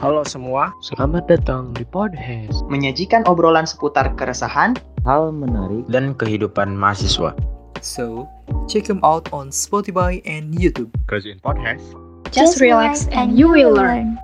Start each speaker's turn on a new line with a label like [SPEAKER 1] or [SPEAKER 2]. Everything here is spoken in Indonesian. [SPEAKER 1] Halo semua,
[SPEAKER 2] Selamat datang di podcast.
[SPEAKER 3] menyajikan obrolan seputar keresahan.
[SPEAKER 4] hal menarik
[SPEAKER 5] dan kehidupan mahasiswa.
[SPEAKER 3] So, check them out on Spotify and YouTube.
[SPEAKER 6] Kerjain podcast.
[SPEAKER 7] Just relax and you will learn.